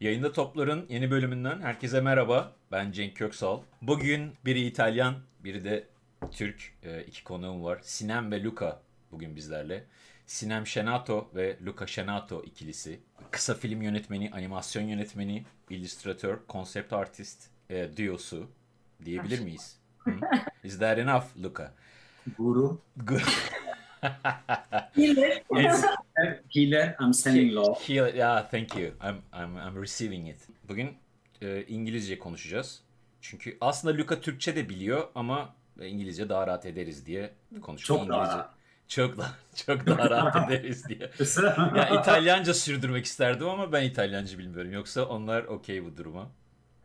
Yayında Toplar'ın yeni bölümünden herkese merhaba. Ben Cenk Köksal. Bugün biri İtalyan, biri de Türk e, iki konuğum var. Sinem ve Luca bugün bizlerle. Sinem Şenato ve Luca Şenato ikilisi. Kısa film yönetmeni, animasyon yönetmeni, illüstratör, konsept artist, e, diyosu diyebilir miyiz? Hı? Is that enough Luca? Guru. Good. Bilir. It's- Healer, I'm sending love. He- yeah, thank you. I'm I'm I'm receiving it. Bugün e, İngilizce konuşacağız. Çünkü aslında Luca Türkçe de biliyor ama İngilizce daha rahat ederiz diye konuşuyor. Çok daha İngilizce. rahat. Çok daha çok daha rahat ederiz diye. Ya İtalyanca sürdürmek isterdim ama ben İtalyanca bilmiyorum. Yoksa onlar okey bu duruma.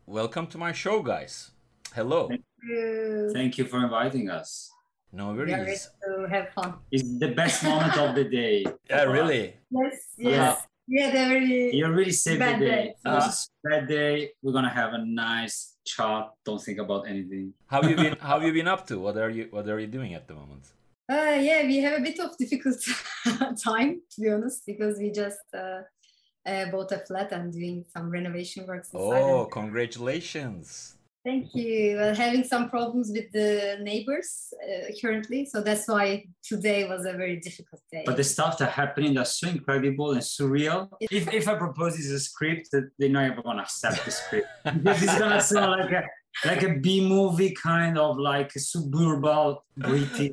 Welcome to my show guys. Hello. You Thank you for inviting us. No we are ready worries. to have fun. It's the best moment of the day. Yeah, really. Yes, yes. yes. We had a really You really saved Bad the day. day. It was a Uh-huh. bad day. We're gonna have a nice chat. Don't think about anything. Have you been Have you been up to? What are you What are you doing at the moment? Uh, yeah, we have a bit of difficult time to be honest because we just uh, uh, bought a flat and doing some renovation works. inside and- Oh, congratulations. Thank you. Well, having some problems with the neighbors uh, currently, so that's why today was a very difficult day. But the stuff that happening that's so incredible and surreal. If, if I propose this as a script, that they're not even gonna accept the script. Because it's gonna sound like a like a B movie kind of like suburban British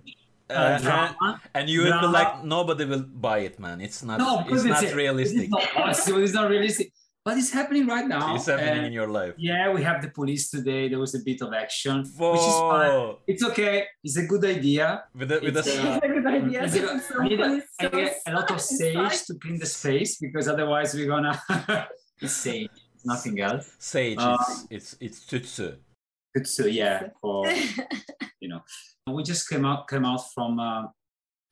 uh, Uh, drama. And you will be Drama. like, nobody will buy it, man. It's not. No, it's because not it's- realistic. It's not possible. It's not realistic. But it's happening right now. It's happening and in your life. yeah, we have the police today. There was a bit of action, which is fine. Whoa. It's okay. It's a good idea. With a, with a, It's, uh, It's a good idea. Is it- So I need a, please, I so get a lot of sage to clean the space because otherwise we're gonna. it's sage, nothing else. sage. uh, it's it's it's tutsu. Good, so yeah, for you know, we just came out came out from uh,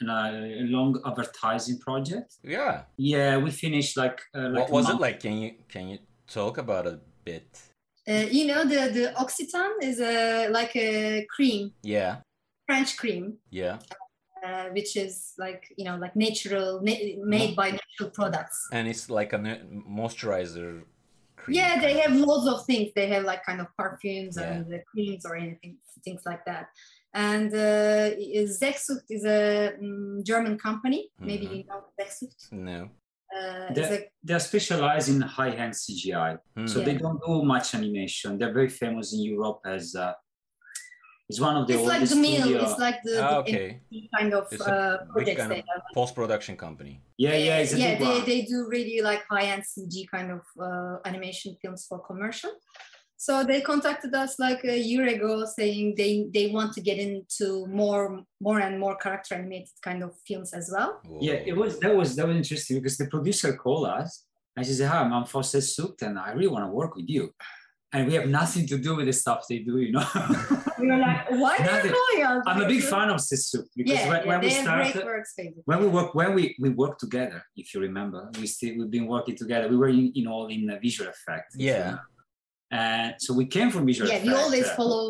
an, uh, a long advertising project. Yeah. Yeah, we finished like, uh, like what a was month it like? Can you can you talk about it a bit? Uh, you know the the Occitan is a like a cream, Yeah. French cream, Yeah. uh, which is like you know like natural na- made by natural products. And it's like a nu- moisturizer. Cream. Yeah, they have loads of things. They have like kind of perfumes Yeah. and the creams or anything things like that. And uh, Zexucht is a mm, German company. Maybe Mhm. you know Zexucht. No. Uh, The- it's a, they're specialized in high-end CGI, Hmm. so they don't do much animation. They're very famous in Europe as uh, it's one of the it's like oldest the meal. studio- It's like the, the Ah, okay. kind of It's a uh, big projects kind of- they have. Post production company. yeah, yeah, it's a yeah, big they, one. they do really like high-end CG kind of uh, animation films for commercial. So they contacted us like a year ago, saying they they want to get into more more and more character animated kind of films as well. Whoa. Yeah, it was that was that was interesting because the producer called us and she said, "Hi, I'm Foster Sook, and I really want to work with you." And we have nothing to do with the stuff they do, you know. We were like, why are Nothing. you calling us? Mm-hmm. I'm a big fan of Sesuk because Yeah, when, yeah, when they we have started, great works, basically. when we work when we we work together if you remember we still we've been working together we were in, in all in uh, visual effects if you Yeah. remember. and so we came from visual Yeah, we effects, always uh, follow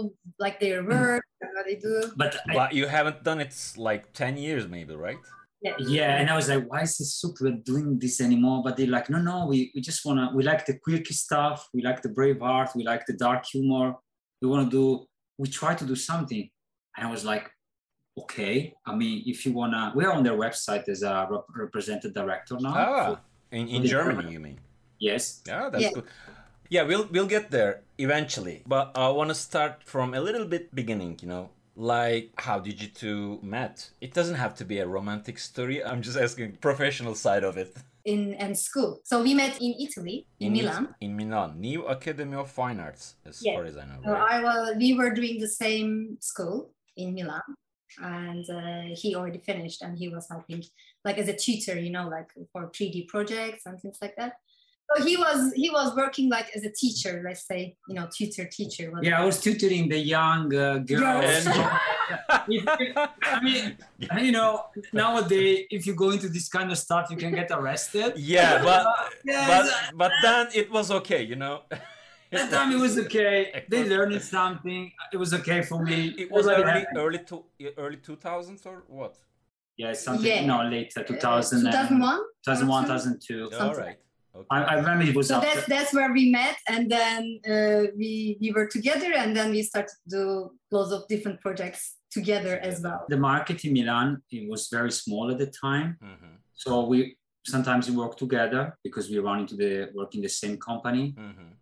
like their Mm-hmm. work and what they do. but I- But you haven't done it s- like ten years, maybe, right? Yeah, yeah and i was like why is this super doing this anymore but they're like no no we, we just want to we like the quirky stuff we like the brave art we like the dark humor we want to do we try to do something and i was like okay i mean if you want to we're on their website as a rep- represented director now Ah, in, in Yeah. Germany, you mean? yes Yeah, that's Yeah. good. Yeah, we'll we'll get there eventually. But I want to start from a little bit beginning, you know. Like how did you two met? It doesn't have to be a romantic story. I'm just asking professional side of it. in and school. So we met in Italy, Mm-hmm. in, It- Milan. In Milan, New Academy of Fine Arts, as Yeah. far as I know. So right? I was, we were doing the same school in Milan, and uh, he already finished, and he was helping, like as a tutor, you know, like for three D projects and things like that. So he was he was working like as a teacher, let's say, you know, tutor teacher. was- yeah i was tutoring the young uh, girls Girls. I mean, And, you know nowadays if you go into this kind of stuff you can get arrested yeah, but yeah, but it's- but then it was okay, you know. That time it was okay. They learned something. It was okay for me. It was like early early to, early 2000s or what? Yeah, something. Yeah. No, later, Uh, 2000, and- 2001? 2001, 2002. Something. All right. Okay. I, I remember it was So after. that's that's where we met, and then uh, we we were together, and then we started to do lots of different projects together as well. the market in Milan it was very small at the time, hmm so we sometimes we work together because we run into the work in the same company. hmm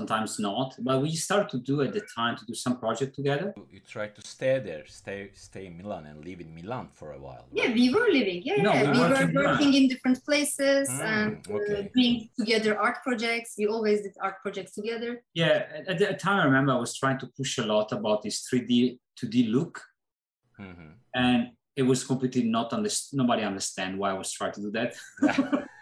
Sometimes not, but we start to do at the time to do some project together. You tried to stay there, stay stay in Milan and live in Milan for a while. right? Yeah, we were living. Yeah, No, yeah. we we were were together. working in different places Mm, and uh, okay. doing together art projects. We always did art projects together. Yeah, at- at the time I remember I was trying to push a lot about this 3D 2D look, Mhm. and it was completely not understood. Nobody understand why I was trying to do that.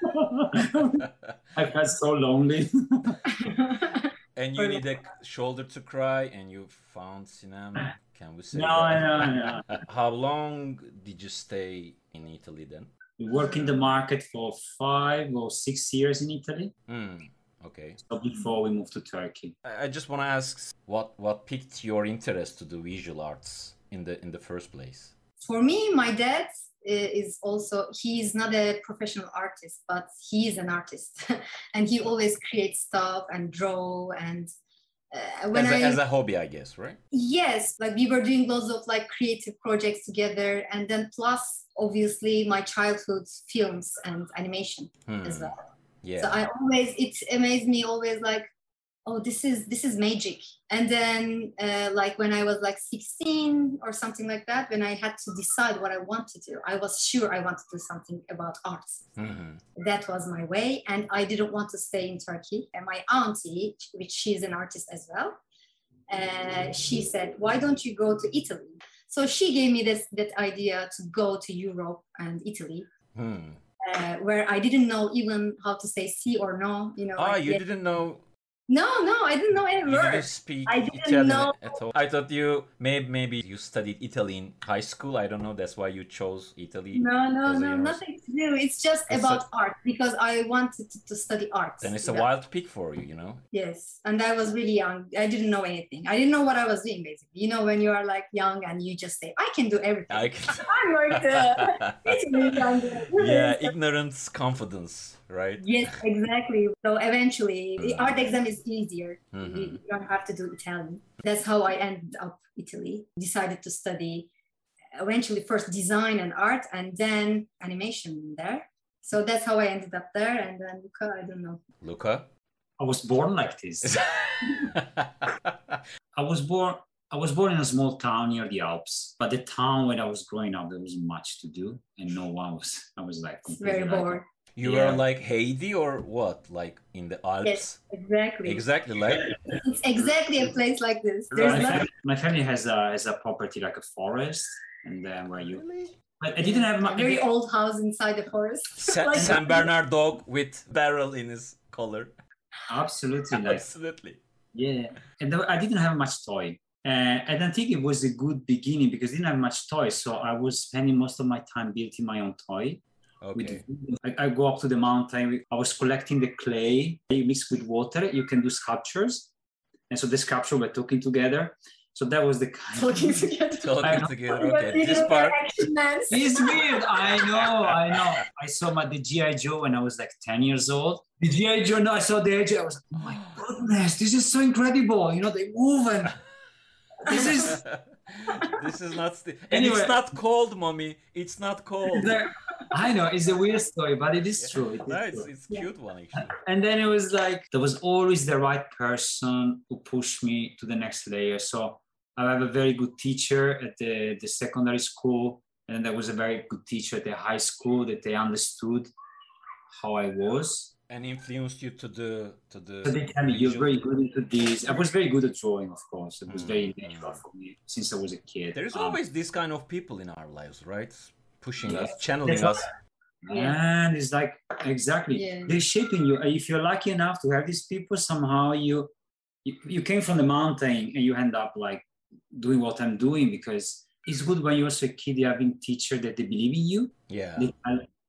I felt so lonely. and you need a shoulder to cry, and you found Sinem. Can we say? No, that? no, How long did you stay in Italy then? We work in the market for five or six years in Italy. Mm, okay. So before we moved to Turkey. I I just want to ask what what piqued your interest to do visual arts in the in the first place. For me, my dad uh, is also he is not a professional artist, but he is an artist, and he always creates stuff and draw and. Uh, when as, a I as a hobby, I guess, right? yes like we were doing lots of like creative projects together and then plus obviously my childhood films and animation Hmm, as well Yeah. so i always it amazed me always like oh this is this is magic and then uh, like when i was like 16 or something like that when i had to decide what i want to do i was sure i want to do something about arts Mhm. that was my way and i didn't want to stay in turkey and my auntie which she's an artist as well uh, she said why don't you go to italy so she gave me this that idea to go to europe and italy Hmm. uh, where i didn't know even how to say see or no you know Ah, like, you Oh, yeah. didn't know. no no i didn't know any You didn't words speak I didn't Italian know. at all. I thought you maybe maybe you studied Italy in high school. I don't know. That's why you chose Italy. no no Doesn't no even- nothing to do it's just It's about art because i wanted to, to study art Then it's a wild pick for you, you know. Yes, and I was really young. I didn't know anything. I didn't know what I was doing, basically. You know, when you are like young and you just say, "I can do everything." I can. I'm like, uh, Italy, I'm the- yeah, ignorance, confidence, right? yes, exactly. So eventually, the Mm. art exam is easier. You, Mhm. you don't have to do Italian. That's how I ended up Italy. Decided to study eventually first design and art, and then animation there. So that's how I ended up there. And then Luca, I don't know. Luca. I was born like this. Mhm. I was born. I was born in a small town near the Alps, but the town when I was growing up, there wasn't much to do, and no one was. I was like It's completely very like- boring. you Yeah. were like Heidi or what? Like in the Alps? Exactly. Exactly, like It's exactly a place like this. There's My, Right. no- fam- my family has a has a property like a forest, and then where you. really? But I didn't have my. a very old house inside the forest. Sa- Like- San Bernard dog with barrel in his collar. Absolutely, like Absolutely. yeah, and there- I didn't have much toy. Uh, and I think it was a good beginning because I didn't have much toy, so I was spending most of my time building my own toy. with Okay. I, I go up to the mountain. I was collecting the clay you mix with water. You can do sculptures, and so the sculpture we're talking together. So that was the kind. Talking together. Talking I- together. Okay. This part. it's weird. I know. I know. I saw my the GI Joe when I was like ten years old. The GI Joe. No, I saw the AJ. I was like, oh my goodness, this is so incredible. You know, they move and this is. this is not. St- and Anyway. it's not cold, mommy. It's not cold. the- I know it's a weird story, but it is Yeah. true. It is No, true. it's, it's cute one actually. and then it was like there was always the right person who pushed me to the next layer so i have a very good teacher at the, the secondary school and then there was a very good teacher at the high school that they understood how i was And influenced you to the to the. so they tell me you're visual- very good into this i was very good at drawing of course it was very Mm, natural mm. for me since i was a kid There is Um, always this kind of people in our lives, right? Pushing Yeah. us, channeling There's us. al- and it's like exactly Yeah. they're shaping you if you're lucky enough to have these people somehow you you, you came from the mountain and you end up like doing what i'm doing because it's good when you're also a kid you having teacher that they believe in you Yeah. They-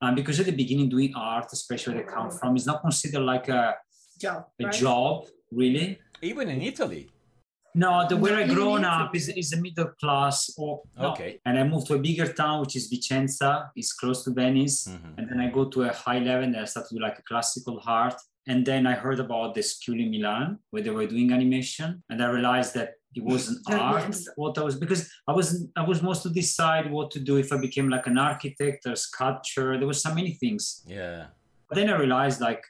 uh, because at the beginning doing art especially where they come from is not considered like a, Job, a right? job really Even in Italy. no the way Not i even grown in up is, Italy. is a middle class or no. Okay. and i moved to a bigger town which is vicenza it's close to venice Mhm. and then I go to a high level and I start to do like a classical art. And then I heard about the school in Milan where they were doing animation, and I realized that it wasn't Oh, art yes. what I was because I was I was most to decide what to do if I became like an architect or sculpture. There were so many things. Yeah. But then I realized like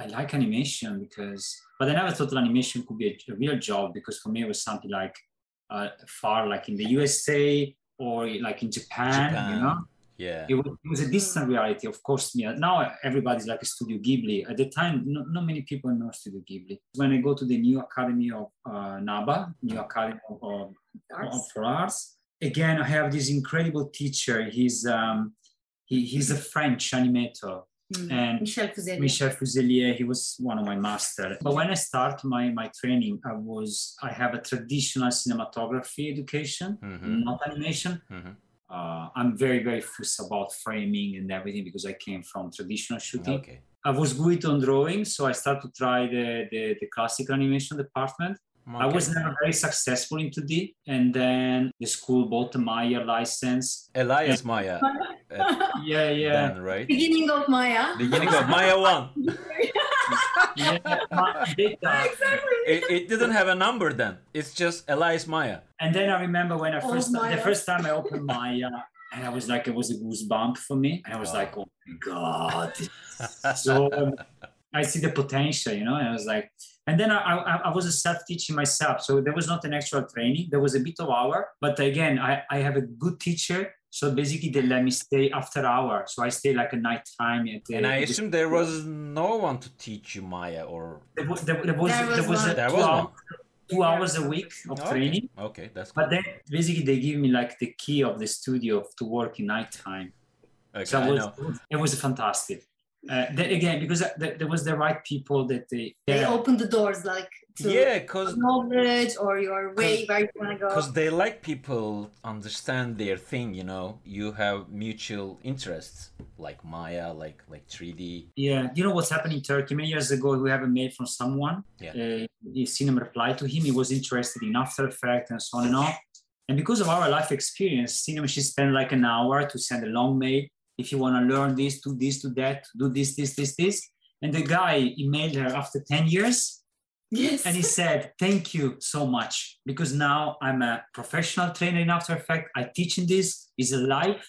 I like animation because, but I never thought that animation could be a, a real job because for me it was something like uh, far like in the USA or like in Japan, you know. Yeah. It was, it was a distant reality, of course. Yeah. Now everybody's like a Studio Ghibli. At the time, no, not many people know Studio Ghibli. When I go to the new Academy of uh, NABA, New Academy of, of Arts. for arts. Again, I have this incredible teacher. He's um, he, he's a French animator, Mm. and Michel Fuseli. Michel Fuselier. He was one of my master. But when I start my my training, I was I have a traditional cinematography education, Mhm. not animation. Mhm. Uh, I'm very very fuss about framing and everything because I came from traditional shooting. Okay. I was good on drawing, so I started to try the the, the classic animation department. I Okay. was never very successful in 2D, and then the school bought the Maya license. Elias Maya. Yeah, yeah. Then, right? Beginning of Maya. Beginning of Maya 1. yeah. Ma- data. exactly. It, it didn't have a number then. It's just Elias Maya. And then I remember when I Oh, first Maya. the first time I opened Maya, and I was like, it was a goosebump for me, and I was Wow. like, oh my god. so um, I see the potential, you know, and I was like, and then I, I, I was self-teaching myself. So there was not an actual training. There was a bit of hour, but again, I, I have a good teacher. So basically they let me stay after hour. So I stay like a night time. At the, And I at the- assume there was no one to teach you Maya or. there was, there, there was, There was there was a one. There two, was hour- one. two hours a week of Okay. training. Okay, that's cool. But then basically they give me like the key of the studio to work in nighttime. Okay, So I it was, know. it was fantastic. Uh, then again, because th- there was the right people that they, They Yeah. open the doors like to Yeah, because knowledge or your way where you want to go. Because they like people understand their thing, you know. You have mutual interests, like Maya, like like 3D. Yeah, you know what's happening in Turkey? Many years ago, we have a mail from someone. Yeah. Uh, the cinema replied to him. He was interested in After Effects and so on and on. And because of our life experience, cinema she spent like an hour to send a long mail. If you want to learn this, do this, do that, do this, this, this, this. And the guy emailed her after 10 years yes. and he said, Thank you so much. Because now I'm a professional trainer in After Effects. I teach in this, it's a life.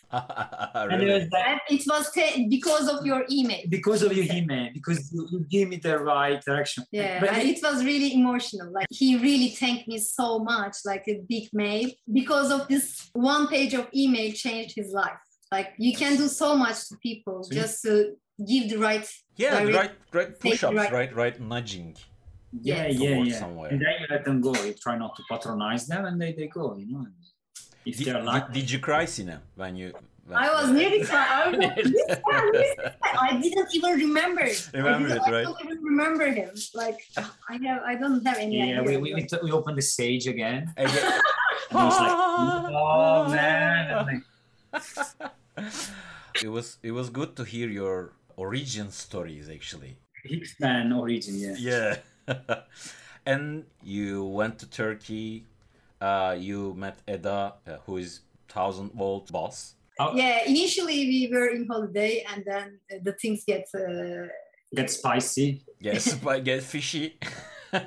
And it was really? like, And it was te- because of your email. because of your email, because you, you gave me the right direction. Yeah, But and it was really emotional. Like he really thanked me so much, like a big mail, because of this one page of email changed his life. Like you can do so much to people So you- just to give the right. Yeah, Direct- right, right push-ups, right- right, right, nudging. Yes. yeah, yeah, Towards yeah. somewhere. And then you let them go. You try not to patronize them, and they, they go. You know, and if Did, they're did, lucky. did you cry, Sinem, when you? When, I was nearly crying. I was like, "This guy, this guy." I didn't even remember. it. Remember I didn't, it, I don't even remember him. Like I have, I don't have any Yeah, idea. we we, we, t- we opened the stage again. And the- And I was like, oh man, I'm like, it was it was good to hear your origin stories actually. Hickman origin. Yeah. Yeah. and you went to Turkey. Uh, you met Eda, uh, who is thousand volt boss. yeah, initially we were in holiday, and then uh, the things get. Uh, Get spicy. Yes, but get fishy.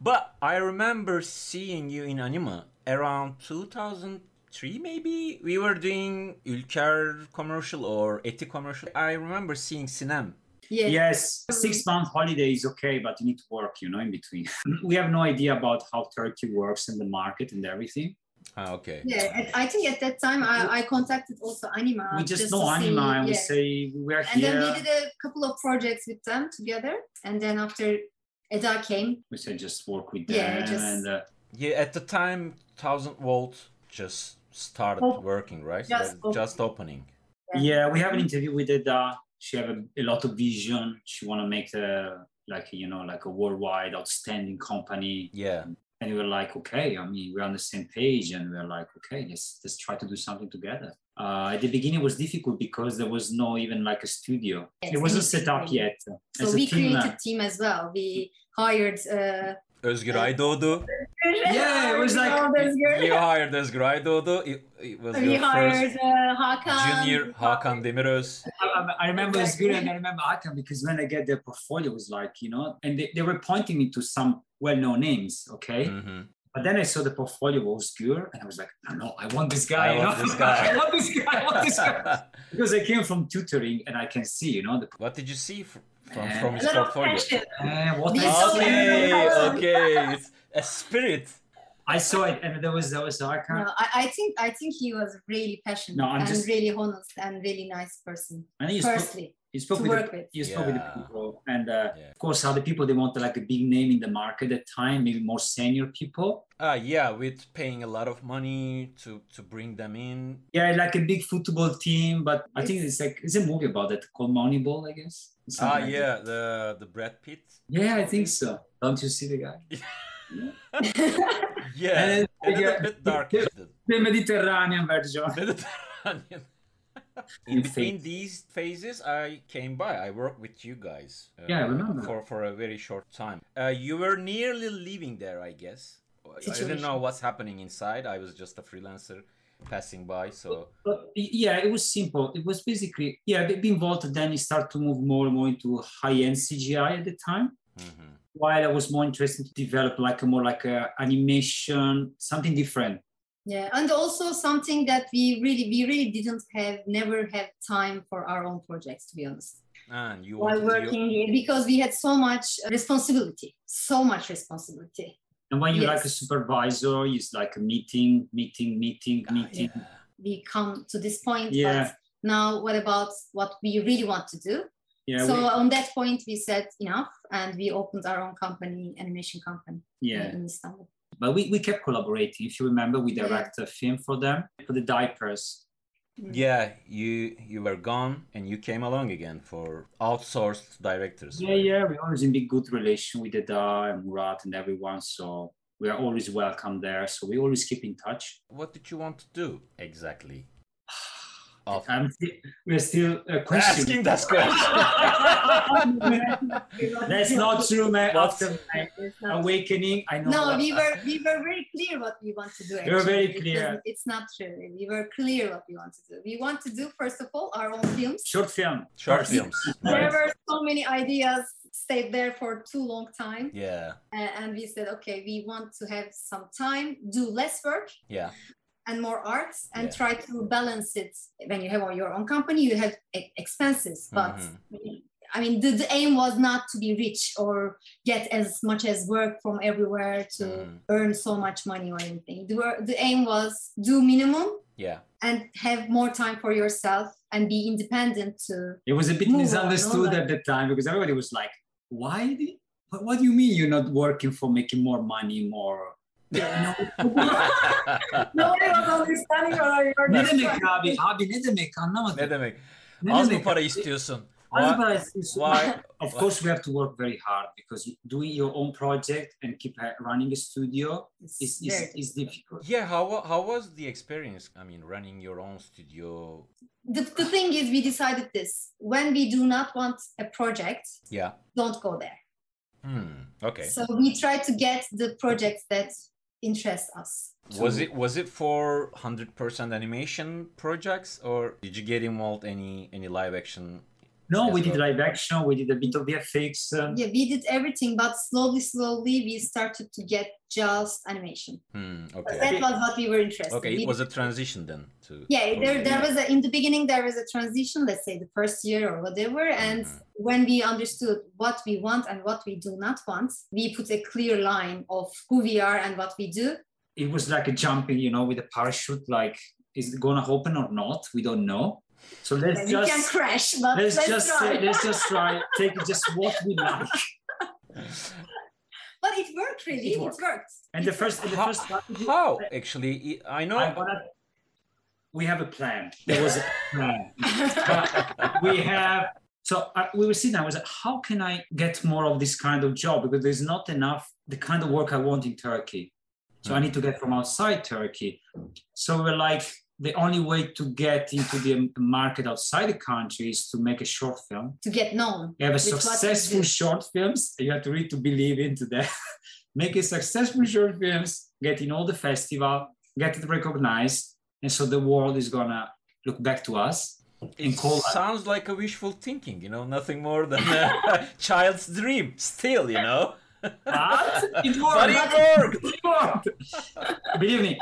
but I remember seeing you in Anima around 2003, maybe. We were doing Ülker commercial or Eti commercial. I remember seeing Sinem. yeah. Yes, six month holiday is okay, but you need to work. You know, in between. we have no idea about how Turkey works and the market and everything. Ah, okay. Yeah, and I think at that time I, I contacted also Anima. we just, Um, to know anima see- and we yeah. say we are And here. then we did a couple of projects with them together. And then after Eda came, we say just work with them Yeah, just- and uh, Yeah, at the time, thousand volt just started Op- working, right? Oh. just Like, just opening. Yeah. yeah we have an interview with Eda. she have a, a lot of vision she want to make a like you know like a worldwide outstanding company Yeah. and we were like okay i mean we're on the same page and we are like okay let's let's try to do something together uh, at the beginning it was difficult because there was no even like a studio Yes, it wasn't anything set up really. yet so As a we team, uh, created team as well. We hired uh, Özgür Aydoğdu. Yeah, it was like- Elders girl. You hired as Graidodo. It, it was We your hired first uh, Hakan. junior Hakan Demiröz. I, I remember it's good and I remember Akan because when I get their portfolio, it was like, you know, and they, they were pointing me to some well known names, okay? Mhm. But then I saw the portfolio was good and I was like, no, no, I want this guy. I you want know? this guy. I want this guy. I want this guy. because I came from tutoring and I can see, you know, the. what did you see fr- from, Uh, from A his lot of portfolio? friendship. Eh, what These I, are see. Okay, friendship. okay. It's a spirit. I saw it and there was, there was Akan. No, I, I think I think he was really passionate No, I'm and just- really honest and really nice person. And you spoke, Firstly, you spoke to with the work with. you spoke with the Yeah. people and uh, Yeah. of course other people they wanted like a big name in the market at the time maybe more senior people Ah, yeah, with paying a lot of money to to bring them in. yeah like a big football team but i think it's like it's a movie about that called moneyball i guess Ah, Something like that. yeah, the the Brad Pitt. yeah i think so don't you see the guy Yeah, And- a little yeah. bit dark. the mediterranean version Mediterranean. In In between phase. these phases, I came by. I worked with you guys. uh, Yeah, I remember. For, for a very short time. Uh, you were nearly leaving there, I guess. I didn't know Situation. what's happening inside. I was just a freelancer passing by. So, But yeah, it was simple. It was basically yeah, be- being vaulted. Then you start to move more and more into high-end CGI at the time. Mhm. While I was more interested to develop like a more like a animation, something different. yeah, and also something that we really we really didn't have never have time for our own projects to be honest. and you While wanted working you, here because we had so much responsibility, so much responsibility. And when you're like a Yes. supervisor, it's like a meeting, meeting, meeting, Ah, meeting. yeah. We come to this point, Yeah. but now what about what we really want to do? Yeah, so we- on that point, we said enough, and we opened our own company, animation company yeah. in Istanbul. But we, we kept collaborating. If you remember, we Yeah. directed a film for them for the diapers. Yeah, you you were gone and you came along again for outsourced directors. Yeah, yeah. We're always in big good relation with Dada and Murat and everyone. So we are always welcome there. So we always keep in touch. What did you want to do exactly? Of- I'm still, we're still uh, asking questioning. that question. That's not true, man. What? After my It's not- awakening, I know. No, what- we were we were very clear what we want to do. were actually. very It clear. doesn't- It's not true. We were clear what we want to do. We want to do first of all our own films. short film. Short First. films. There right? were so many ideas stayed there for too long time, Yeah, A- and we said, okay, we want to have some time, do less work, yeah. and more arts and Yeah. try to balance it when you have your own company you have e- expenses but Mhm. i mean the, the aim was not to be rich or get as much as work from everywhere to Mhm. earn so much money or anything the, wor- the aim was do minimum Yeah. and have more time for yourself and be independent to It was a bit Move on, misunderstood no, at the time because everybody was like, "Why? the- What, what do you mean you're not working for making more money, more?" Yeah, nobody was understanding or or- ne demek abi? Abi ne demek ne anlamadım. demek? Ne Az mı demek? para istiyorsun? Az Why- para istiyorsun. Why? Of course, we have to work very hard because doing your own project and keep uh, running a studio is, It's is, very- is difficult. Yeah, how wa- how was the experience? I mean, running your own studio. the, the thing is we decided this when we do not want a project Yeah. don't go there Hmm. Okay. So we try to get the projects that interest us. was it was it for 100% animation projects or did you get involved any any live action? No, Yes, we did well- live action. We did a bit of VFX. Um, Yeah, we did everything, but slowly, slowly we started to get just animation. Hmm. But Okay. That was what we were interested. Okay, We- it was a transition then to yeah, there, Okay. there was a, in the beginning there was a transition, let's say the first year or whatever, and Mhm. when we understood what we want and what we do not want, we put a clear line of who we are and what we do. It was like a jumping, you know, with a parachute. Like, is it gonna open or not? We don't know. So let's we can just crash, but let's, let's, just try. say- let's just try take just what we like. but it worked really. It It worked. worked. And the first, and the How- first strategy, How actually? I know. I'm gonna- we have a plan. There was a plan. we have. So I, we were sitting. I was like, how can I get more of this kind of job? Because there's not enough the kind of work I want in Turkey. So I need to get from outside Turkey. So we're like, the only way to get into the market outside the country is to make a short film. to get known. You have a With what you successful do. short films. You have to really to believe into that. making successful short films, getting all the festival, get it recognized, and so the world is gonna look back to us and It call us. sounds like a wishful thinking, you know, nothing more than a child's dream still, you know. But it But worked. it worked. It worked. Believe me.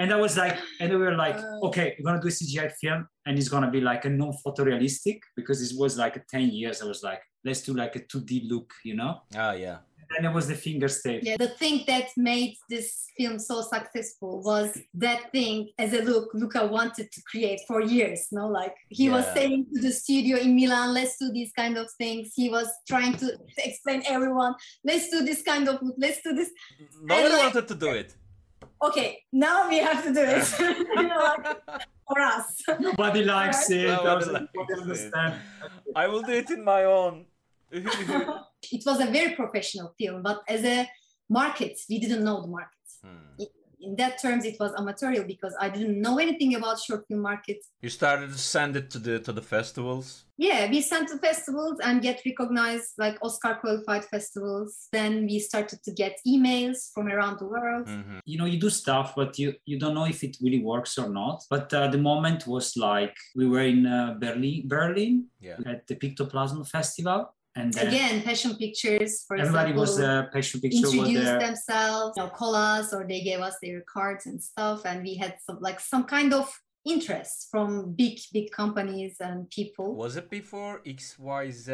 And I was like, and we were like, Uh. okay, we're gonna do a CGI film, and it's gonna be like a non-photorealistic because this was like 10 years. I was like, let's do like a 2D look, you know? Ah, yeah. And it was the finger state. Yeah, the thing that made this film so successful was that thing as a look Luca wanted to create for years. No, like he was Yeah. saying to the studio in Milan, let's do these kind of things. He was trying to to explain everyone, let's do this kind of look, let's do this. No one wanted to do it. Okay, now we have to do it. you know, like for us. Nobody likes it. I was like, Nobody "Nobody likes it." understand. I will do it in my own. Hmm. it was a very professional film, but as a market, we didn't know the market. Hmm. In that terms, it was amatorial because I didn't know anything about short film market. You started to send it to the to the festivals. yeah we sent to festivals and get recognized like oscar qualified festivals then we started to get emails from around the world Mhm. you know you do stuff but you you don't know if it really works or not but uh, the moment was like we were in uh, berlin berlin Yeah. at the pictoplasm festival and then again passion pictures for everybody example was uh, patient picture was introduced there themselves you know, call us or they gave us their cards and stuff and we had some like some kind of interest from big big companies and people Was it before XYZ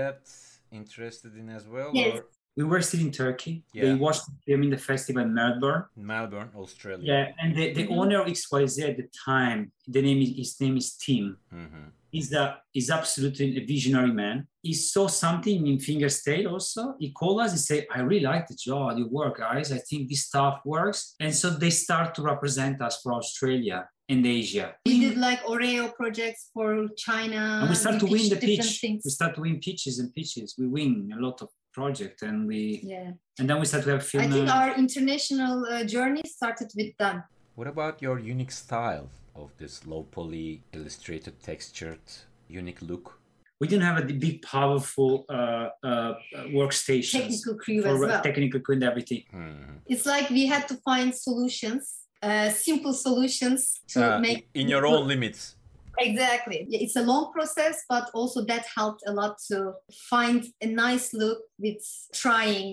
interested in as well? Yes. Or we were still in turkey Yeah. they watched the film in the festival in melbourne Melbourne, Australia. yeah and the, the Mhm. owner of xyz at the time the name is his name is tim Mhm. He's a is absolutely a visionary man. He saw something in Finger State also. He called us and said, I really like the job, you work, guys. I think this stuff works. And so they start to represent us for Australia and Asia. we did like oreo projects for china and we start to win Ah, pitched the different pitch. things. We start to win pitches and pitches. We win a lot of project and we yeah and then we start to have film. i think uh, our international uh, journey started with them What about your unique style of this low poly, illustrated, textured, unique look? we didn't have a big powerful uh, uh, workstations technical crew for as well. technical and everything. Mhm. it's like we had to find solutions, uh, simple solutions to Uh, make in your own limits. exactly. Yeah, It's a long process, but also that helped a lot to find a nice look with trying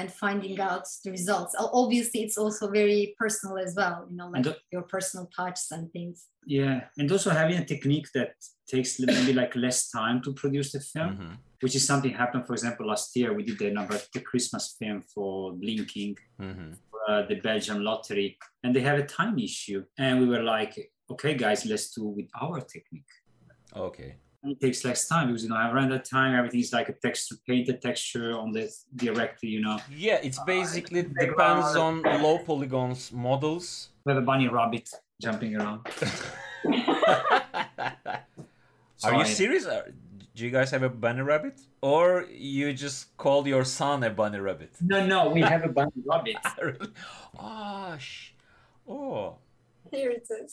and finding out the results. O- Obviously, it's also very personal as well. You know, like And the- your personal touches and things. Yeah, and also having a technique that takes li- maybe like less time to produce the film, Mhm. which is something happened. For example, last year we did the number the Christmas film for Blinking, Mhm. uh, the Belgian lottery, and they have a time issue, and we were like, okay, guys, let's do with our technique. Okay. And it takes less time because you know around that time everything is like a texture, painted texture on the directly. You know, Yeah, it's Uh, basically think they depends are- on low polygons models. we have a bunny rabbit jumping around. Are you Sorry. serious? Are- Do you guys have a bunny rabbit? Or you just called your son a bunny rabbit? No, no, we have a bunny rabbit. Ah, sh- oh, Here it is.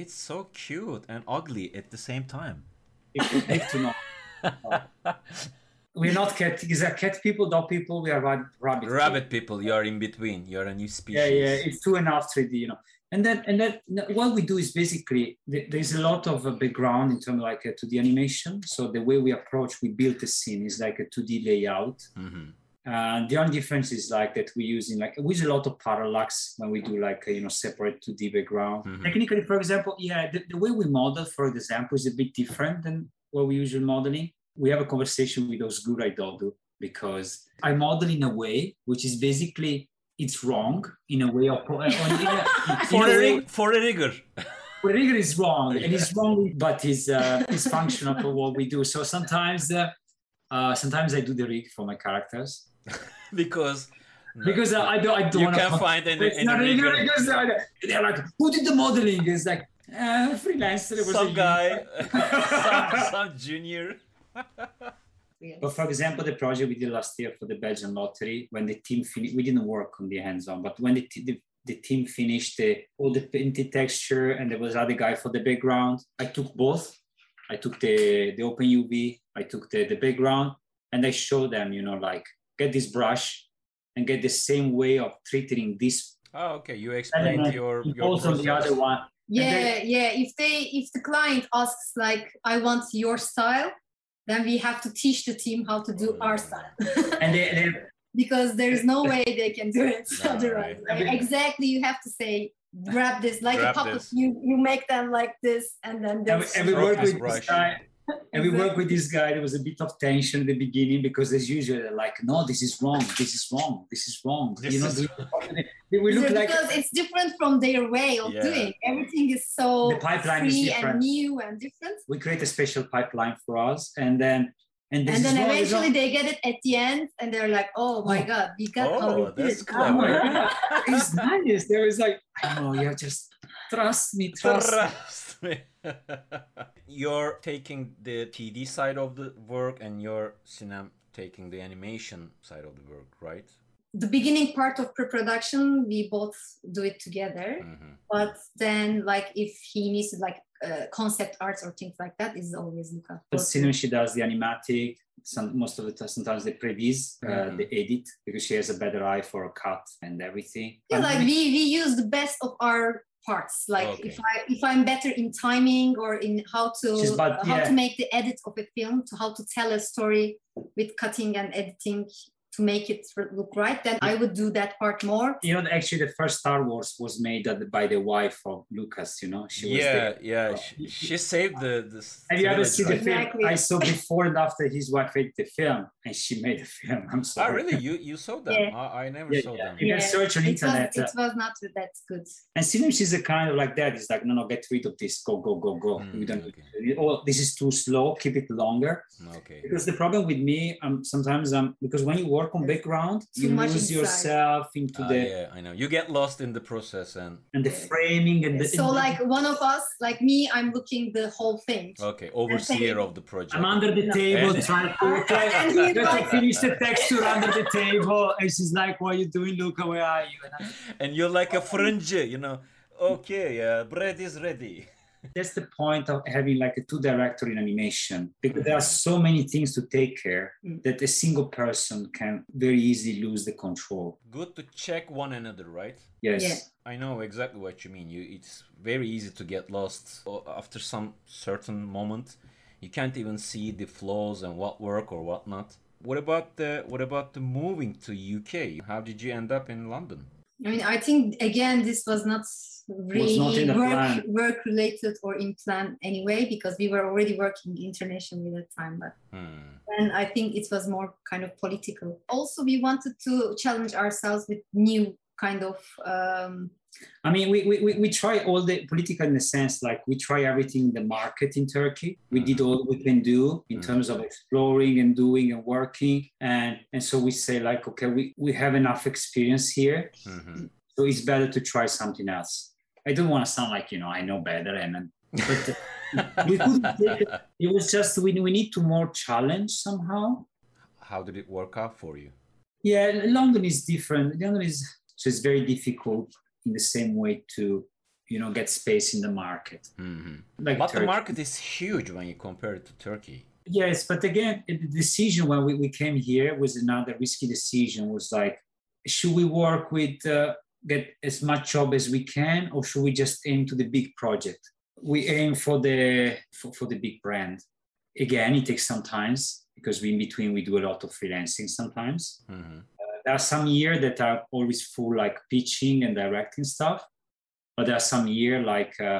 it's so cute and ugly at the same time. If you need to know. We're not cat. Is that cat people, dog people? We are rab- rabbit. people. Rabbit people, you are in between. You are a new species. Yeah, yeah. It's two and a half, three D. You know. And then, and then, what we do is basically th- there's a lot of uh, background in terms of like uh, to the animation. So the way we approach, we build the scene is like a two D layout. Mhm. Uh, the only difference is like that we use in like we use a lot of parallax when we do like uh, you know separate two D background. Mhm. Technically, for example, yeah, the, the way we model, for example, is a bit different than what we usually modeling. We have a conversation with Osgura Idodu because I model in a way which is basically it's wrong in a way of or in a- For, in a a way- rig- for a rigger. well, rigor is wrong, and it's wrong, but it's uh, it's functional for what we do. So sometimes, uh, uh, sometimes I do the rig for my characters because. because I, I don't I don't you want can't find any, It's any not really rigger. good because uh, they're like, who did the modeling? It's like uh, freelancer. It was a some union. guy, some, some junior. Oh, But for example, the project we did last year for the Belgian lottery, when the team finished, we didn't work on the hands-on, but when the, t- the the team finished the, all the painted texture and there was other guy for the background, I took both. I took the the open UV, I took the the background, and I showed them, you know, like get this brush, and get the same way of treating this. Oh, okay. You explained element your your also process. the other one. yeah yeah if they if the client asks like i want your style then we have to teach the team how to do Oh, our style And they, they because there's no way they can do it No, otherwise I mean- right? exactly you have to say grab this like Grab a puppet this. you you make them like this and then and we, this and we Broke work his with brush. this guy. And we work Exactly. with this guy. There was a bit of tension at the beginning because, as usual, they're like, "No, this is wrong. This is wrong. This is wrong." This you know, is- they- they will look because like it's different from their way of Yeah. doing everything is so The pipeline is free different. and new and different we create a special pipeline for us, and then and this and is then wrong, this is eventually wrong. they get it at the end and they're like oh my Oh. god we got how we Oh, did that's it." clever. it's nice. There is like, I know you just trust me, trust. me. Trust me. you're taking the TD side of the work and you're Sinem taking the animation side of the work, right? the beginning part of pre-production we both do it together Mhm. but then like if he needs to like uh, concept arts or things like that is always Luca. But Sinu, she does the animatic. Some most of the time, sometimes the previs, uh, Mhm. the edit, because she has a better eye for a cut and everything. Yeah, But like we we use the best of our parts. Like Okay. if I if I'm better in timing or in how to She's bad, how yeah. to make the edit of a film to how to tell a story with cutting and editing to make it r- look right, then I would do that part more. you know, actually, the first Star Wars was made at- by the wife of Lucas. You know, she was. Yeah, there. yeah. She, she saved the the. Have you ever trilogy, seen right? the film? Exactly. I saw before and after his wife made the film, and she made the film. I'm Ah, sorry. really? You you saw them? Ah, Yeah. I, I never Yeah, saw yeah. them. You can Yeah, search on It was, internet. uh, it was not that good. And sometimes she's a kind of like that. It's like, no, no, get rid of this. Go, go, go, go. Mm, we don't. okay. Oh, this is too slow. Keep it longer. Okay. Because the problem with me, um, sometimes um, because when you work on background, Too you much lose inside. yourself into Ah, the yeah, I know. You get lost in the process and and the framing and the. So and- like one of us, like me, I'm looking the whole thing. Oh. okay, overseer of the project. I'm under the table And- trying to And trying he's to like- finish the texture under the table, and she's like, "What are you doing? Look, where are you?" And I- and you're like a fringe, you know. Okay, uh, bread is ready. that's the point of having like a two director in animation because there are so many things to take care Mm-hmm. Mm. that a single person can very easily lose the control. Good to check one another, right? Yes. Yeah. I know exactly what you mean. You, it's very easy to get lost o- after some certain moment. You can't even see the flaws and what work or what not. What about the what about the moving to UK? How did you end up in London? I mean, I think again, this was not really not in the plan. work, work related or in plan anyway, because we were already working internationally at that time. But Hmm. then I think it was more kind of political. Also, we wanted to challenge ourselves with new kind of um, I mean, we, we, we- we try all the political in the sense like we try everything in the market in Turkey. We did all we can do in Mhm. terms of exploring and doing and working. And, and so we say, like, okay, we, we have enough experience here. Mhm. So it's better to try something else. I don't want to sound like, you know, I know better. And and- but we couldn't hmm. take it. It was just we, we need to more challenge somehow. How did it work out for you? Yeah, London is different. London is so it's very difficult in the same way to, you know, get space in the market. hmm Like But the Turkey. market is huge when you compare it to Turkey. Yes, but again, the decision when we, we came here was another risky decision. Was like, should we work with uh, get as much job as we can, or should we just aim to the big project? We aim for the for, for the big brand. Again, it takes some times because we in between we do a lot of freelancing sometimes. hmm There are some year that are always full like pitching and directing stuff, but there are some year like uh,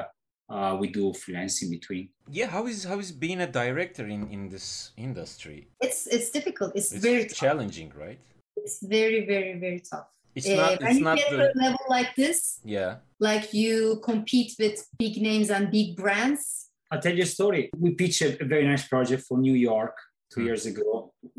uh, we do freelancing between. Yeah, how is how is being a director in in this industry? it's it's difficult. It's, It's very tough. challenging, right? It's very very very tough. It's Eh, Yeah, not. when It's you not get the. to a level like this, Yeah. like you compete with big names and big brands. I'll tell you a story. We pitched a, a very nice project for New York two Hmm. years ago.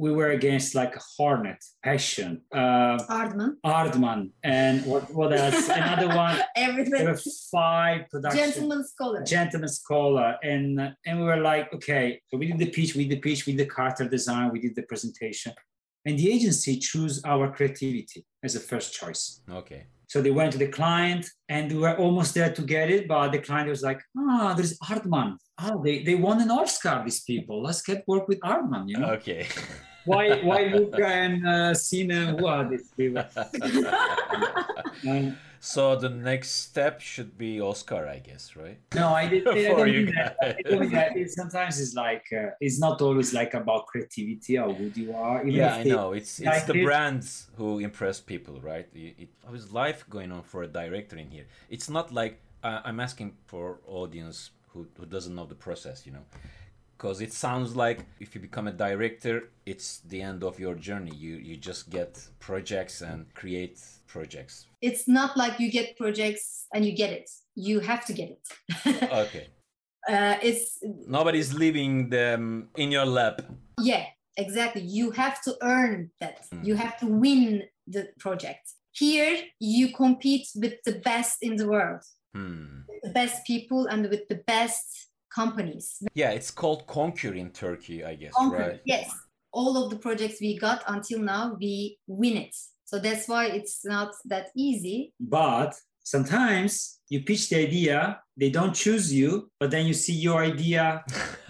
We were against like Hornet, Passion, uh, Hardman, Ardman, and what, what else? Another one. There everything. were five productions. Gentleman scholar. Gentleman Scholar, and uh, and we were like, okay, so we did the pitch, we did the pitch, we did the Carter design, we did the presentation, and the agency chose our creativity as a first choice. Okay. So they went to the client and we were almost there to get it, but the client was like, ah, there's Ah, Hartman. Oh, they, they won an Oscar, these people. Let's get work with Hartman, you know? Okay. why why Luca and uh, Sinem? Who are these people? Um, so the next step should be Oscar, I guess, right? no, I did. I For don't you mean that. I don't mean that. It- sometimes it's like uh, it's not always like about creativity or who you are. Even Yeah, if I they- know. It's it's like the it- brands who impress people, right? It, it, how is life going on for a director in here? It's not like I I'm asking for audience who, who doesn't know the process, you know, because it sounds like if you become a director, it's the end of your journey. You you just get projects and create projects. It's not like you get projects and you get it. You have to get it. Okay, uh, it's nobody's leaving them in your lap. Yeah, exactly. You have to earn that. Mm. You have to win the project. Here, you compete with the best in the world, Hmm. the best people, and with the best companies. Yeah, it's called Conquer in Turkey, I guess, Concrete, right? Yes, all of the projects we got until now, we win it. So that's why it's not that easy. But sometimes you pitch the idea, they don't choose you, but then you see your idea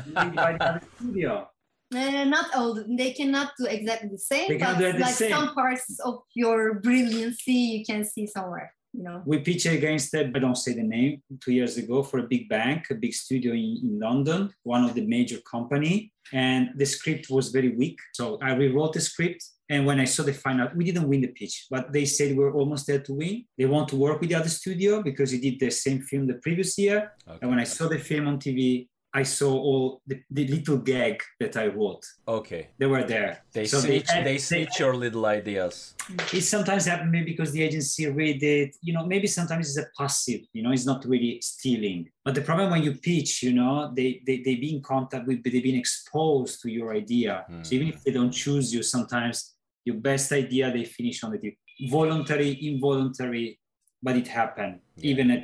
made by the other studio. Uh, not all. They cannot do exactly the same. They cannot but do the like same. some parts of your brilliancy, you can see somewhere. You know. We pitched against that, I don't say the name, two years ago for a big bank, a big studio in, in London, one of the major company. And the script was very weak. So I rewrote the script. And when I saw the final, we didn't win the pitch, but they said we're almost there to win. They want to work with the other studio because he did the same film the previous year. Okay. And when I saw the film on TV, I saw all the, the little gag that I wrote. Okay. They were there. They So they snitch. They, had- they snitch your little ideas. It sometimes happened maybe because the agency read it. You know, maybe sometimes it's a passive. You know, it's not really stealing. But the problem when you pitch, you know, they they they be in contact with, they've been exposed to your idea. So even if they don't choose you, sometimes your best idea they finish on it. Voluntary, involuntary, but it happened. Yeah. Even at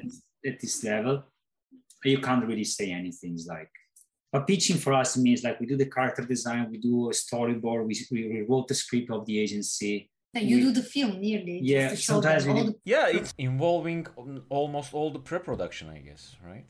at this level, you can't really say anything. It's like. But pitching for us means like we do the character design, we do a storyboard, we, we rewrote the script of the agency, Then you We- do the film nearly. Yeah, just to show them sometimes we all need- the Yeah, it's involving al- almost all the pre-production, I guess, right?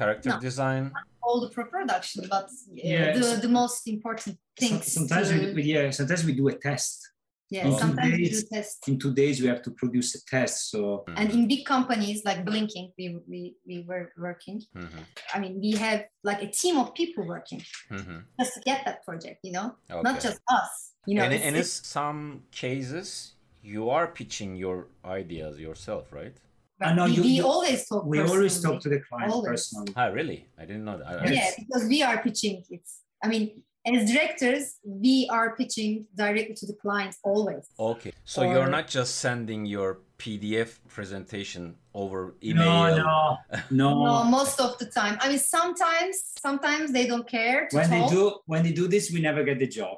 Character No. design. all the pre-production, but uh, Yeah, the, so- the most important Some- things. sometimes to- we, Oh. we- yeah sometimes we do a test yeah, in two sometimes we do days- tests. in two days we have to produce a test so And in big companies like Blinking, we, we, we were working. Mhm, I mean, we have like a team of people working mhm. just to get that project, you know, Okay. not just us, you know. and it's- in it's- some cases, you are pitching your ideas yourself, right? I know we, you- we you- always talk. we always personally. talk to the client Always. personally Ah, really? I didn't know that. I- I- Yeah, because we are pitching it. I mean, as directors, we are pitching directly to the clients always. Okay. So you're Or- not just sending your PDF presentation over no email. no No, no most of the time. I mean, sometimes, sometimes they don't care to when they talk. do when they do this we never get the job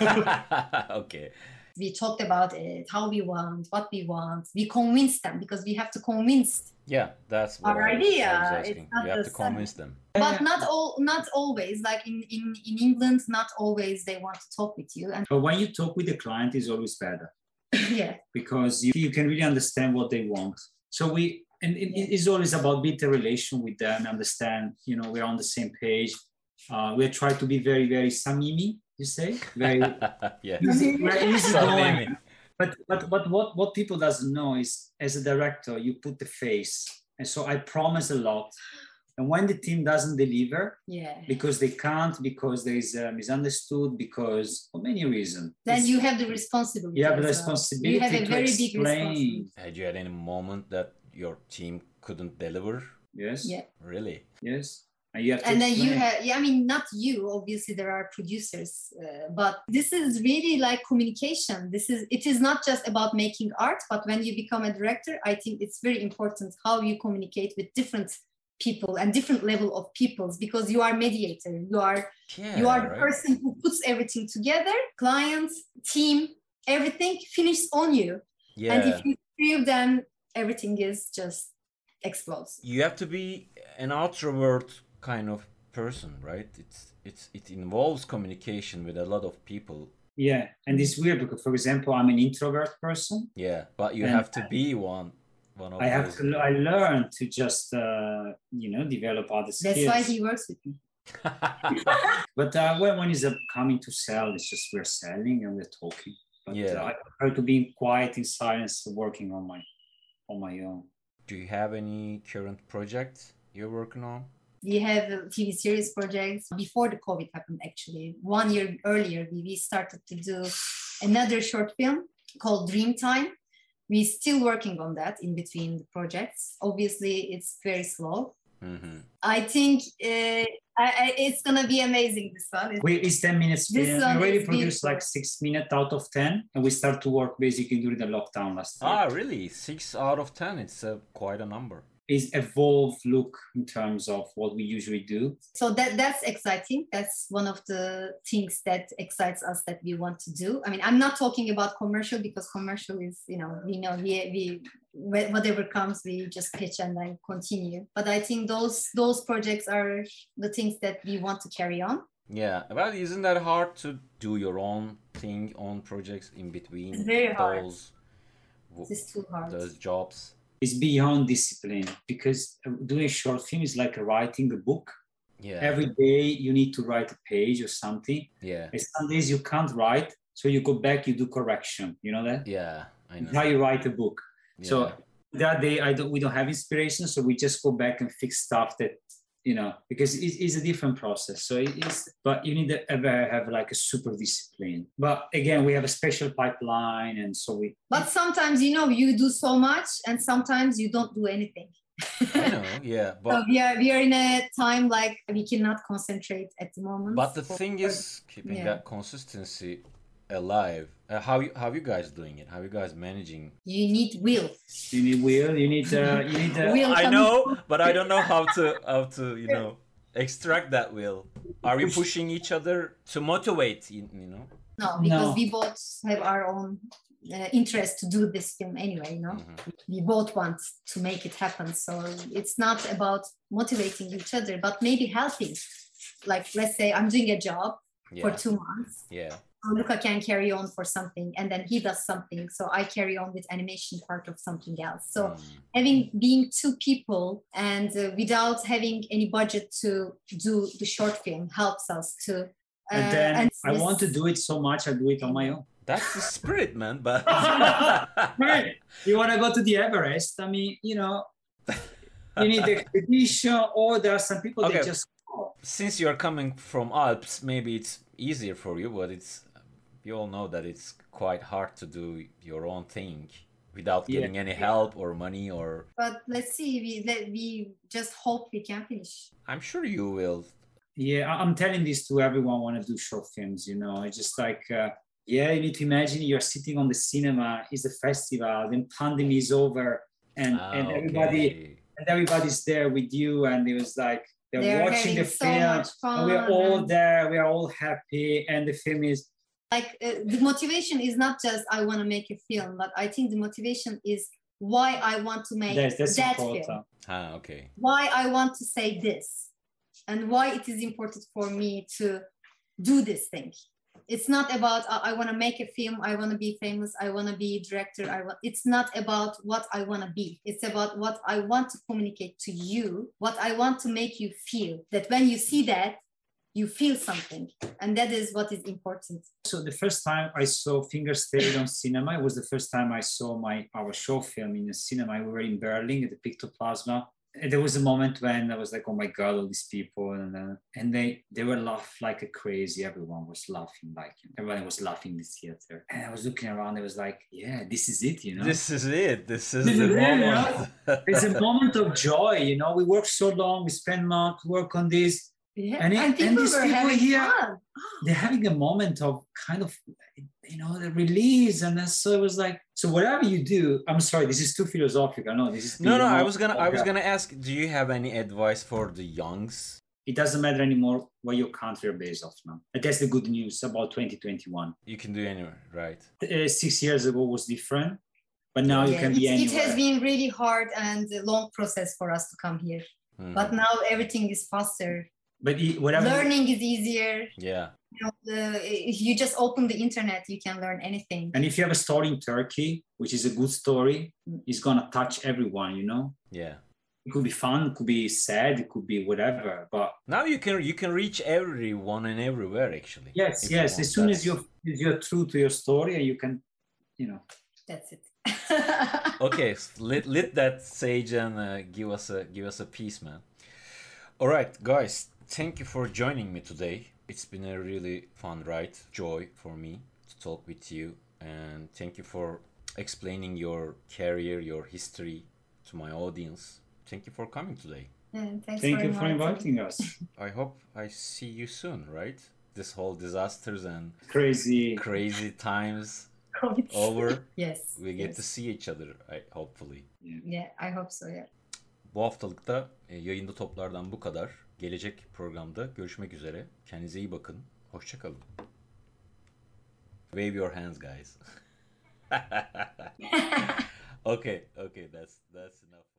okay. we talked about it, how we want, what we want. We convinced them because we have to convince, Yeah, that's what Our I was- I idea, was it's asking. not You have to just sending- convince them. but not all, not always. Like in in in England, not always they want to talk with you. And but when you talk with the client is always better yeah, because you, you can really understand what they want so we and it, it is always about build a relation with them understand you know we're on the same page uh, we try to be very very samimi you say very yeah. easy, very easy going. Samimi. but but but what what people doesn't know is as a director you put the face and so i promise a lot and when the team doesn't deliver yeah. because they can't because there is a misunderstood because for many reasons Then it's- you have the responsibility. you have as the well. responsibility You have a to very big explain responsibility. Had you had any moment that your team couldn't deliver? yes Yeah. Really? yes and you have to And then you explain. have, yeah, I mean, not you, obviously, there are producers, uh, but this is really like communication. This is, it is not just about making art, but when you become a director, I think it's very important how you communicate with different people and different level of peoples because you are mediator you are Yeah. you are the right? person who puts everything together clients team everything finishes on you Yeah. and if you screw then everything is just explodes you have to be an outrovert kind of person, right? It's it's it involves communication with a lot of people. yeah and it's weird because for example i'm an introvert person Yeah, but you And- have to be one one of i have those. to i learn to just uh, you know develop other skills that's why he works with me but uh, when when is it coming to sell? It's just we're selling and we're talking. But Yeah. uh, I prefer to be quiet in silence, working on my on my own. Do you have any current project you're working on? We have a TV series projects before the COVID happened, actually. One year earlier, we we started to do another short film called Dreamtime. We're still working on that in between the projects. Obviously, it's very slow. hmm I think uh, I, I, it's going to be amazing, this one. It's- We it's ten minutes. This film. We one already is produced beautiful. like six minutes out of ten, and we start to work basically during the lockdown last year. Ah, really? Six out of ten. It's uh, quite a number. It's evolved look in terms of what we usually do. so that that's exciting that's one of the things that excites us that we want to do i mean i'm not talking about commercial because commercial is you know we know we, we wh- whatever comes we just pitch and then continue but i think those those projects are the things that we want to carry on Yeah, but isn't that hard to do your own thing, own projects in between It's very hard. those w- it's too hard those jobs? It's beyond discipline because uh, doing a short film is like writing a book. Yeah, Every day you need to write a page or something. yeah, And some days you can't write, so you go back, you do correction. You know that? yeah. I It's know. how you write a book. Yeah. So that day, I don't, we don't have inspiration, so we just go back and fix stuff that you know because it is a different process. So it is, but you need to have, have like a super discipline. But again, we have a special pipeline, and so we. but sometimes you know you do so much and sometimes you don't do anything I know, yeah, so but we are we are in a time like we cannot concentrate at the moment but the So- thing is keeping Um, Yeah. that consistency alive. Uh, how you how you guys doing it? How you guys managing? you need will You need will. You need. Uh, you need. Uh, Will I coming know, but I don't know how to how to you know extract that will. Are you pushing each other to motivate? You, you know. No, because No. we both have our own uh, interest to do this film anyway. You know, Mm. Mhm. we both want to make it happen. So it's not about motivating each other, but maybe helping. Like, let's say I'm doing a job for Yeah, two months. yeah, So Luca can carry on for something, and then he does something. So I carry on with animation part of something else. So Mm. having being two people and uh, without having any budget to do the short film helps us to. uh, and then I this- want to do it so much, I do it on my own. that's the spirit, man. But Right. You want to go to the Everest? I mean, you know, you need the expedition, or there are some people Okay. that just go. since you're coming from Alps, maybe it's easier for you, but it's you all know that it's quite hard to do your own thing without Yeah. getting any help or money or but let's see we let, we just hope we can finish I'm sure you will. Yeah, I- I'm telling this to everyone when I do short films. You know, it's just like, uh, yeah, you need to imagine you're sitting on the cinema, it's a festival, then pandemic is over, and Ah, and everybody okay. and everybody's there with you, and it was like they're, They're watching the having so film. much and fun we're all and, there, we're all happy, and the film is like uh, the motivation is not just i want to make a film but i think the motivation is why i want to make that's that's that film important. Ah, okay. why i want to say this and why it is important for me to do this thing it's not about uh, i want to make a film i want to be famous i want to be a director i want it's not about what i want to be it's about what i want to communicate to you what i want to make you feel that when you see that you feel something and that is what is important So the first time I saw Fingerstayed on cinema, it was the first time I saw my our show film in the cinema. We were in Berlin at the Pictoplasma. And there was a moment when I was like, "Oh my god, all these people!" And uh, and they they were laugh like a crazy. Everyone was laughing like everyone was laughing in the theater. And I was looking around. I was like, "Yeah, this is it," you know. This is it. This is This the is it, moment. it's a moment of joy, you know. We work so long, we spend months work on this. yeah And it- and people these were people having here- fun. They're having a moment of kind of, you know, the release, and then so it was like, so whatever you do, I'm sorry, this is too philosophical. No, this is no, no. I beyond- was gonna. I was Okay. gonna ask. Do you have any advice for the youngs? It doesn't matter anymore what your country are based off now. And that's the good news about 2021. You can do anywhere, right? Uh, six years ago was different, but now you Yeah, can it, be it anywhere. has been really hard and a long process for us to come here Mm-hmm. Mhm. but now everything is faster but it, whatever. learning is easier yeah. you know, the, if you just open the internet, you can learn anything. And if you have a Mm. story in Turkey, which is a good story, it's gonna touch everyone. You know, Yeah. It could be fun, it could be sad, it could be whatever. But Now you can you can reach everyone and everywhere actually. yes, if you yes. want. As soon as That's- you're as you're true to your story, and you can, you know. That's it. okay, s- lit lit that sage and uh, give us a give us a piece, man. All right, guys, thank you for joining me today. It's been a really fun ride, joy for me to talk with you, and thank you for explaining your career, your history to my audience. Thank you for coming today. Yeah, thanks Thank you for inviting us. I hope I see you soon, right? This whole disasters and Crazy. crazy times COVID. Oh, over. Yes. We get yes. to see each other, I, hopefully. Yeah, I hope so. Yeah. Bu haftalıkta e, yayında toplardan bu kadar. Gelecek programda görüşmek üzere. Kendinize iyi bakın. Hoşçakalın. Wave your hands guys. okay, okay, that's that's enough.